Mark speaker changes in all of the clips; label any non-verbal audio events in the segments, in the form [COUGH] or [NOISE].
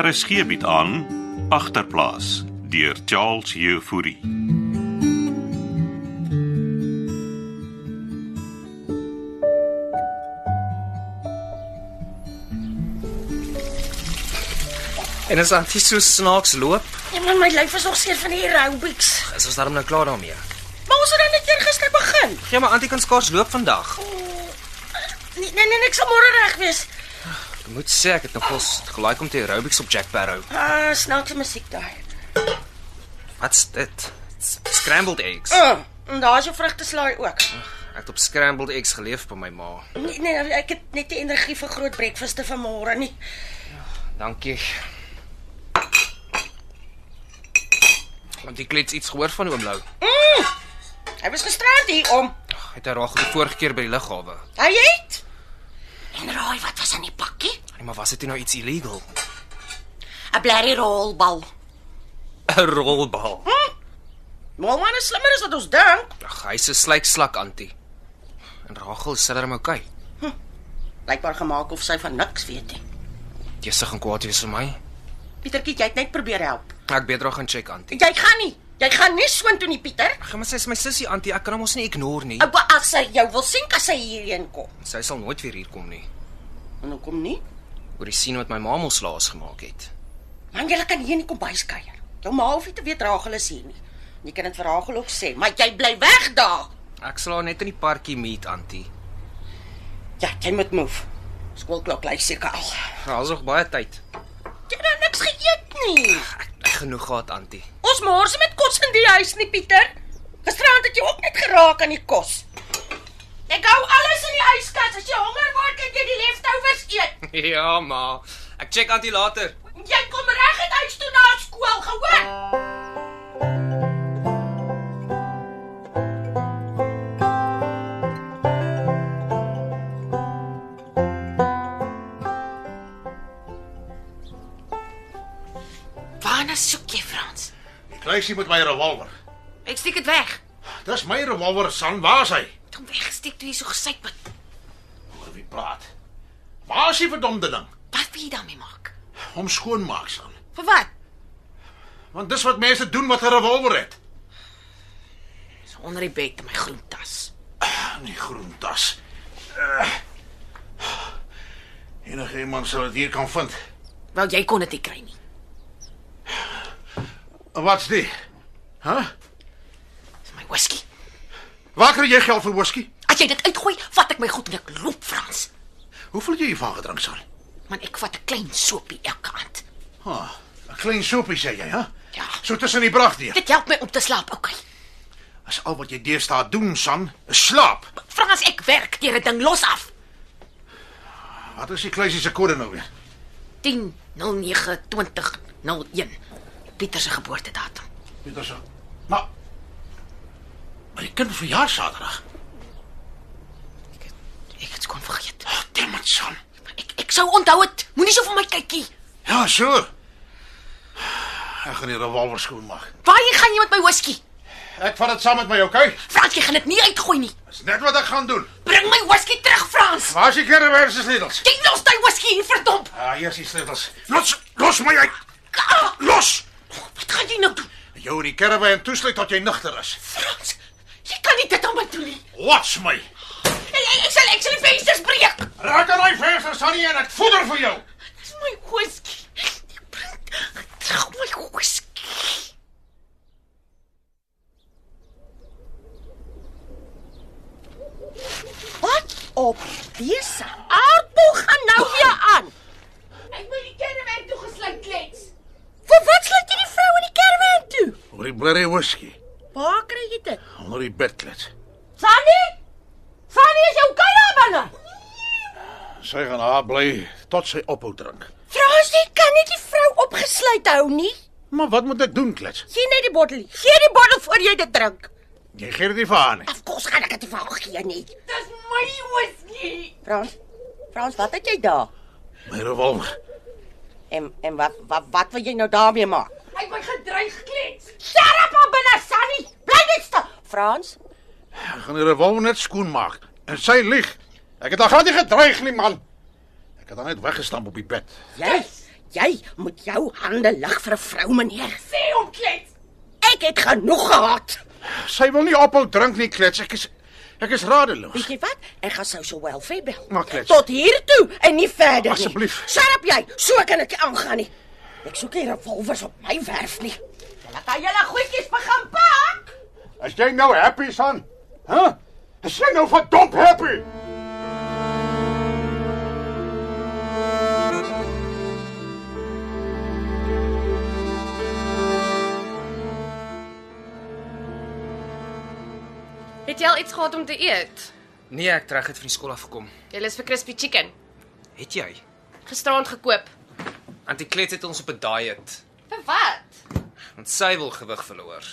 Speaker 1: RSG bied aan Agterplaas deur Charles Jefouri.
Speaker 2: En as Antie so snaaks loop,
Speaker 3: Ja, maar my lyf is nog seer van die aerobics.
Speaker 2: is ons darm nou klaar daarmee.
Speaker 3: Maar ons het dan net eers gister begin.
Speaker 2: Ja, maar Antie kan skaars loop vandag.
Speaker 3: Nee nee nee, ek sal môre reg wees.
Speaker 2: Ek moet sê ek het nogals gelaik om te aerobics op Jack Barrow.
Speaker 3: Ah, snaakse musiek daai.
Speaker 2: Wat's dit? S- Scrambled eggs.
Speaker 3: Mm, en daar's jou vrugteslaai ook.
Speaker 2: Ek het op scrambled eggs geleef by my ma.
Speaker 3: Nee nee, ek het net die energie vir groot breakfaste vanmôre nie.
Speaker 2: Dankie. Want ek klets iets gehoor van oom Lou.
Speaker 3: Mm. Hy was gisterand hier om.
Speaker 2: Hy Het hy raag die vorige keer by die lughawe.
Speaker 3: Hy het. En raai wat was in die pakkie?
Speaker 2: Nee, maar was dit nie nou iets illegal?
Speaker 3: 'n Blerrie rolbal.
Speaker 2: 'n Rolbal.
Speaker 3: Molman is slimmer as wat ons dink.
Speaker 2: Ag, hy's 'n slyk-slak antie. En Rachel sê dit hom oukei.
Speaker 3: Blykbaar gemaak of sy van niks weet nie.
Speaker 2: Jessig en kwaad wees vir my.
Speaker 3: Pietertjie, jy het net probeer help.
Speaker 2: Ek beter gaan check antie.
Speaker 3: Jy gaan nie. Jy gaan nie soontoe nie, Pieter.
Speaker 2: Ag, maar sy is my sussie antie, ek kan hom ons nie ignoreer nie.
Speaker 3: Ou, As sy jou wil sien, kan sy hierheen kom.
Speaker 2: Sy sal nooit weer hier kom nie.
Speaker 3: En hoekom nie?
Speaker 2: Oor die sien wat my ma mos laas gemaak het.
Speaker 3: Man, jy kan hier nie kom byskuier. Jou ma hoef nie te weet Rachel is hier nie. En Jy kan dit vir Rachel ook sê, maar jy bly weg daar.
Speaker 2: Ek sal haar net in die parkie meet antie.
Speaker 3: Ja, jy moet move. Skoolklok lui seker al.
Speaker 2: Ons nog baie tyd.
Speaker 3: Jy het nou niks geëet nie.
Speaker 2: Ek, ek genoeg gehad antie.
Speaker 3: Ons mors met kos in die huis nie, Pieter. Gisterand het jy ook net geraak aan die kos. Ek hou alles in die yskas. As jy honger word, kan jy die leftovers eet.
Speaker 2: [LAUGHS] ja ma. Ek check antie later.
Speaker 3: Jy kom reg uit huis toe na skool, gehoor?
Speaker 4: Waarna soek jy, Frans?
Speaker 5: Die kluisie met my revolver.
Speaker 4: Ek steek dit weg.
Speaker 5: Dis my revolver, San, waar's hy?
Speaker 4: Het hom weggesteek toe jy so gesyp het.
Speaker 5: Oor wie praat? Waar is die verdomde ding?
Speaker 4: Wat wil jy daarmee maak?
Speaker 5: Hom skoonmaak, San.
Speaker 4: Vir wat?
Speaker 5: Want dis wat mense doen wat 'n revolver het.
Speaker 4: Dis onder die bed in my groen tas.
Speaker 5: In die groen tas. Uh, enige iemand sou dit hier kan vind.
Speaker 4: Wel, jy kon dit nie kry nie.
Speaker 5: En Wat's dit? Hæ? Huh?
Speaker 4: Dis my whisky.
Speaker 5: Waar kry jy geld vir whisky?
Speaker 4: As jy dit uitgooi, vat ek my goed en ek loop, Frans.
Speaker 5: Hoeveel het jy hiervan gedrink, San?
Speaker 4: Man, ek vat 'n klein soopie elke aand.
Speaker 5: Ha, oh, 'n klein soepie sê jy, hè?
Speaker 4: Ja.
Speaker 5: So tussen die bragdeur.
Speaker 4: Dit help my om te slaap, okay?
Speaker 5: As al wat jy deesdae doen, San, is slaap.
Speaker 4: Frans, ek werk deur 'n ding los af.
Speaker 5: Wat is die kluisie se kode nou weer?
Speaker 4: 10 09 20 01. Pieter se geboortedatum.
Speaker 5: Pieter se. Nou. Maar die kind verjaar Saterdag.
Speaker 4: Ek het, ek het skoon vergeet.
Speaker 5: Ag, damn it, son.
Speaker 4: Maar Ek ek sou onthou dit. Moenie so vir my kykie.
Speaker 5: Ja, sure. Ek gaan die revolver skoon maak.
Speaker 4: Waarheen gaan jy met my whisky?
Speaker 5: Ek vat dit saam met my, okay?
Speaker 4: Frans, jy gaan dit nie uitgooi nie.
Speaker 5: Dis net wat ek gaan doen.
Speaker 4: Bring my whisky terug, Frans.
Speaker 5: Waar is die kerrewers se sleutels?
Speaker 4: Jy los daai whisky hier, verdomp.
Speaker 5: Ah, hier is die sleutels. Los, los my uit.
Speaker 4: Ah,
Speaker 5: Los.
Speaker 4: wat gaan jy nou doen,
Speaker 5: Jou in die kerrewe en toesluit tot jy nigter is.
Speaker 4: Frans? Jy kan nie dit aan my doen nie.
Speaker 5: Watch my.
Speaker 4: Ek, ek, ek sal ek sal die vensters breek.
Speaker 5: Raak aan daai vensters aan nie en ek voeder vir jou.
Speaker 4: Dis my whisky. Jy bring terug my whisky.
Speaker 3: Wat op dese aardbol gaan nou weer aan?
Speaker 4: Ek moet die kerwerk toe gesluit klets.
Speaker 3: Vir wat sluit jy die vrou in die karavaan toe?
Speaker 5: Oor die blerrie whisky
Speaker 3: Waar kry jy dit?
Speaker 5: onder die bedklets.
Speaker 3: Sannie? Sannie is jou kaja binne.
Speaker 5: Sy gaan haar bly tot sy ophou drink.
Speaker 3: Frans, jy kan nie die vrou opgesluit hou nie.
Speaker 5: Maar wat moet ek doen, klets?
Speaker 3: Sien net die bottel. Gee die bottel voor jy dit drink.
Speaker 5: Jy gee dit nie vir haar nie.
Speaker 3: Of kos gaan ek dit vir haar gee nie.
Speaker 4: Dis my whisky.
Speaker 3: Frans, Frans, wat het jy daar?
Speaker 5: My revolver.
Speaker 3: En en wat wat wat wil jy nou daarmee maak?
Speaker 4: Ek word gedreig klets.
Speaker 3: Shut up op binne, Sannie. Bly net stil. Frans,
Speaker 5: Ek gaan die revolver net skoonmaak. En sy lieg. Ek het haar glad nie gedreig nie, man. Ek het haar net weggestamp op die bed.
Speaker 3: jy Jy moet jou hande lig vir 'n vrou, meneer.
Speaker 4: Sê hom klets.
Speaker 3: Ek het genoeg gehad.
Speaker 6: Sy wil nie ophou drink nie, klets. Ek is ek is radeloos.
Speaker 3: Weet jy wat? Ek gaan social welfare bel.
Speaker 6: Maar klets.
Speaker 3: Tot hier toe en nie verder nie.
Speaker 6: Asseblief.
Speaker 3: Sharp jy. So kan ek nie aangaan nie. Ek soek nie revolvers op my werf nie.
Speaker 4: Laat hy julle goedjies begin pak.
Speaker 6: As jy nou happy son? Hæ? Huh? Is jy nou verdomp happy?
Speaker 7: Het jy al iets gehad om te eet?
Speaker 2: Nee, ek trek dit van die skool af gekom.
Speaker 7: Jy is vir crispy chicken
Speaker 2: Het jy?
Speaker 7: gisteraand gekoop.
Speaker 2: Antie Klets het ons op 'n diet
Speaker 7: Vir wat?
Speaker 2: want sy wil gewig verloor.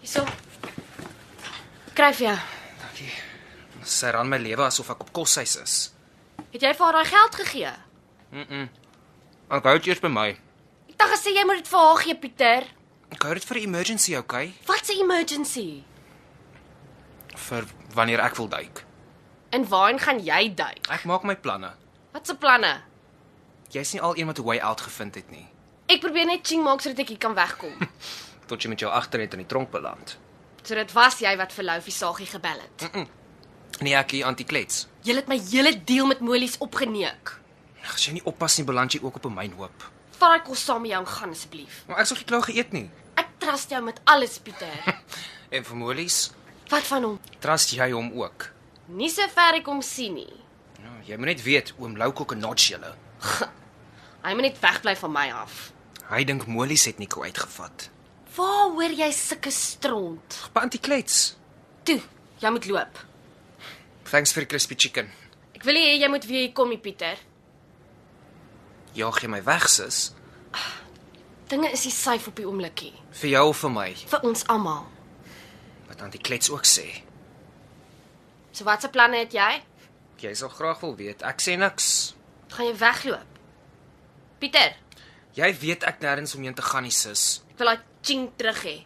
Speaker 7: Hierso. Kry vir jou.
Speaker 2: Sy ran my lewe asof ek op koshuis is.
Speaker 7: Het jy vir haar daai geld gegee?
Speaker 2: Ek hou dit eers by my.
Speaker 7: Ek dink gesê jy moet dit vir haar gee, Pieter.
Speaker 2: Ek hou dit vir 'n emergency, okay?
Speaker 7: Wat 'n emergency.
Speaker 2: Vir wanneer ek wil duik.
Speaker 7: En waarheen gaan jy duik?
Speaker 2: Ek maak my planne.
Speaker 7: Wat se planne?
Speaker 2: Jy's nie al een wat 'n way out gevind het nie.
Speaker 7: Ek probeer net ching maak sodat ek hier kan wegkom.
Speaker 2: Tot jy met jou agterheid in die tronk beland.
Speaker 7: [LAUGHS] So dit was jy wat vir Loufie Sagie gebel het.
Speaker 2: Nee, ek hier Antie Klets.
Speaker 7: Jy Mm. het my hele deal met molies opgeneek.
Speaker 2: Ag, As jy nie oppas nie, beland jy ook op 'n mynhoop.
Speaker 7: Vat daai kos saam met jou en gaan asseblief.
Speaker 2: Maar ek sou nie klaar geëet nie.
Speaker 7: Ek trust jou met alles, [LAUGHS] Pieter.
Speaker 2: En vir Molies,
Speaker 7: Wat van hom?
Speaker 2: trust jy hom ook.
Speaker 7: Nie so ver ek hom sien nie.
Speaker 2: Nou, jy moet net weet oom Louko Knotch julle.
Speaker 7: Hy moet net wegbly van my af.
Speaker 2: Hy dink Molies het Nico uitgevat.
Speaker 7: Waar hoor jy sulke stront?
Speaker 2: By Antie Klets.
Speaker 7: Toe, jy moet loop.
Speaker 2: Thanks vir die crispy chicken.
Speaker 7: Ek wil nie hê jy moet weer hier kom nie, Pieter.
Speaker 2: Jaag jy Ja, my weg, sis?
Speaker 7: Dinge is nie safe op die oomblikie
Speaker 2: Vir jou of vir my?
Speaker 7: vir ons almal.
Speaker 2: Wat Antie Klets ook sê.
Speaker 7: So watse planne het jy?
Speaker 2: Jy sal graag wil weet. Ek sê niks.
Speaker 7: Gaan jy wegloop? Pieter,
Speaker 2: Jy weet ek nêrens omheen te gaan nie, sis.
Speaker 7: ek wil daai ching terug hê.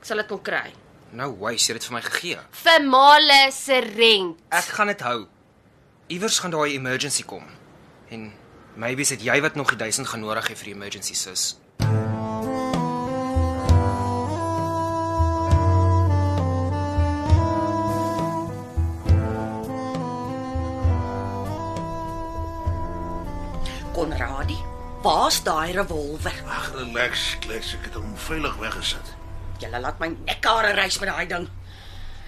Speaker 7: Ek sal dit kon kry.
Speaker 2: Nou, wys jy het dit vir my gegee.
Speaker 7: Vir Male se rent.
Speaker 2: Ek gaan dit hou. Iewers gaan daai emergency kom. En maybe is dit jy wat nog die 1000 gaan nodig hê vir die emergency, sis.
Speaker 3: Konradie, waar's daai revolver?
Speaker 5: Ag, relax, klets, ek het hom veilig weggesit.
Speaker 3: Julle laat my nekhare reis met daai ding.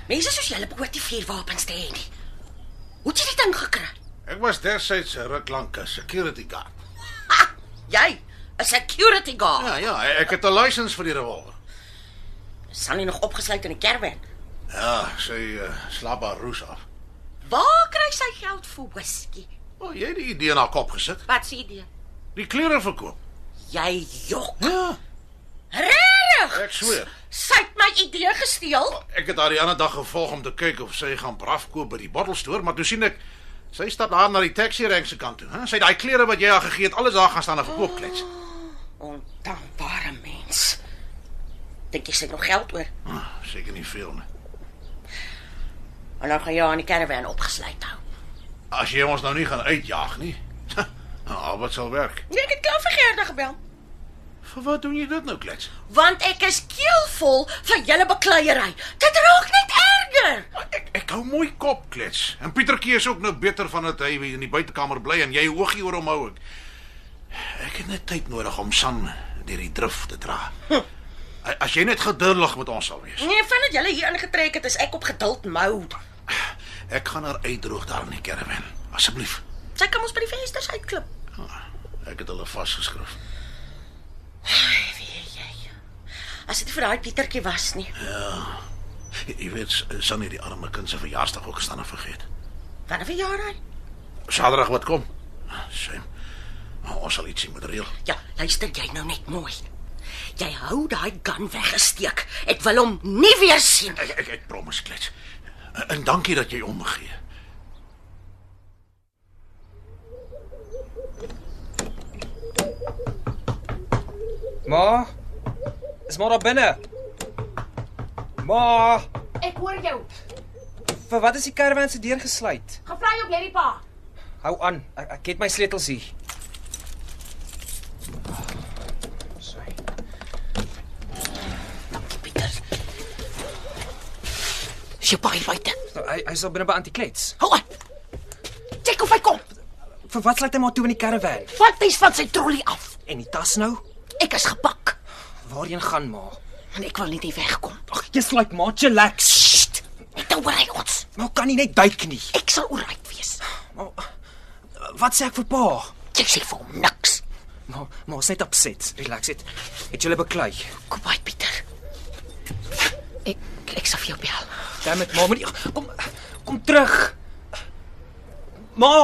Speaker 3: Mense soos julle behoort nie vuurwapens te hê nie. Hoe het jy dit ding gekry?
Speaker 5: Ek was destyds 'n ruk lank 'n security guard.
Speaker 3: Ha, jy, 'n security guard.
Speaker 5: Ja, ja, ek het 'n lisensie vir die revolver.
Speaker 3: Sal nie nog opgesluit in 'n kerwin.
Speaker 5: Ja, sy uh, slaap haar roes af.
Speaker 3: Waar kry sy geld vir whisky?
Speaker 5: O, oh, jy het die idee na kop gesit.
Speaker 3: Wat se idee?
Speaker 5: Die klere verkoop.
Speaker 3: Jy jok.
Speaker 5: Ja,
Speaker 3: Regtig?
Speaker 5: ek sweer.
Speaker 3: Sy het my idee gesteel.
Speaker 5: Ek het haar die ander dag gevolg om te kyk of sy gaan braaf koop by die bottelstoor, maar toe sien ek sy stap daar na die taxi rank se kant toe. Hè? Sy het daai klere wat jy haar gegee het, alles daar gaan staan en verkoop klets.
Speaker 3: Ondankbare mens. Dink jy sy het nog geld oor?
Speaker 5: Hm, seker nie veel nie.
Speaker 3: En dan gaan jy haar in die kerwin opgesluit hou.
Speaker 5: As jy ons nou nie gaan uitjaag nie. [LAUGHS] Nou, wat sal werk?
Speaker 3: Nee, ek het klaar vir Gerda gebel.
Speaker 5: Vir wat doen jy dit nou klets?
Speaker 3: want ek is keelvol vir julle bekleierery. Dit raak net erger.
Speaker 5: Ek ek hou mooi kop klets. En Pietertjie is ook nou beter van dat hy weer in die buitekamer bly en jy oogie oor hom hou ek. Ek het net tyd nodig om San deur die drif te dra. A- As jy net geduldig met ons sal wees.
Speaker 3: Nee, vind dit julle hier ingetrek het, is ek op geduld mode.
Speaker 5: Ek gaan haar uitdroog daar in die karavaan. Asseblief.
Speaker 3: Sy kan ons by die vensters uitklip.
Speaker 5: Ek het hulle vasgeskryf.
Speaker 3: Weet jy? As dit vir daai Pietertjie was nie.
Speaker 5: Jy- Jy weet S- San het die arme kind se verjaarsdag ook gestaan en vergeet.
Speaker 3: Wanneer verjaar hy?
Speaker 5: Saterdag wat kom? Sy ons sal ietsie moet reël.
Speaker 3: Ja, luister jy nou net mooi. Jy hou daai gun weggesteek. Ek wil hom nie weer sien.
Speaker 5: Ek ek, ek promise klets. En- En dankie dat jy omgee.
Speaker 2: Ma? Is maar daar binne. Ma,
Speaker 4: Ek hoor jou.
Speaker 2: vir wat is die karavaan se deur gesluit?
Speaker 4: Gevlei op hierdie pa.
Speaker 2: Hou aan. Ek, ek het my sleutels hier. Sy.
Speaker 3: Pieter. Sy paai buite.
Speaker 2: Hy hy's al binne by Antiklets.
Speaker 3: Hou aan. Check of hy kom.
Speaker 2: Vir wat sluit hy maar toe in die karavan?
Speaker 3: Vat hy's van sy trollie af.
Speaker 2: En die tas nou?
Speaker 3: Ek is gepak
Speaker 2: Waarheen gaan ma?
Speaker 3: en ek wil net nie wegkom.
Speaker 2: Ag, jy's like ma, chillax.
Speaker 3: Sst. Net oor hy ons.
Speaker 2: Maar kan nie net duik nie.
Speaker 3: Ek sal oorheid wees.
Speaker 2: Maar wat sê ek vir pa?
Speaker 3: Jy sê vir hom niks.
Speaker 2: Ma, ma is net opset. Relax dit. Het julle beklei.
Speaker 3: Kom by Pieter. Ek ek sal vir jou bel.
Speaker 2: Damn it, ma, moet jy- kom kom terug. Ma!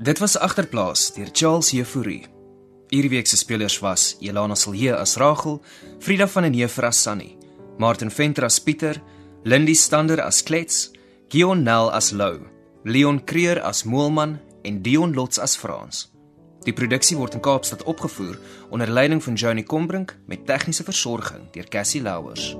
Speaker 2: Dit was agterplaas deur Charles Jefouri. Hierdie week se spelers was Elana Silje as Rachel, Frida van den Heever as Sunny, Martin Venter as Pieter, Lindy Stander as Klets, Gion Nel as Lou, Leon Creer as Moelman en Dion Lots as Frans. Die produksie word in Kaapstad opgevoer onder leiding van Johnny Combrink met tegniese versorging deur Cassie Louwers.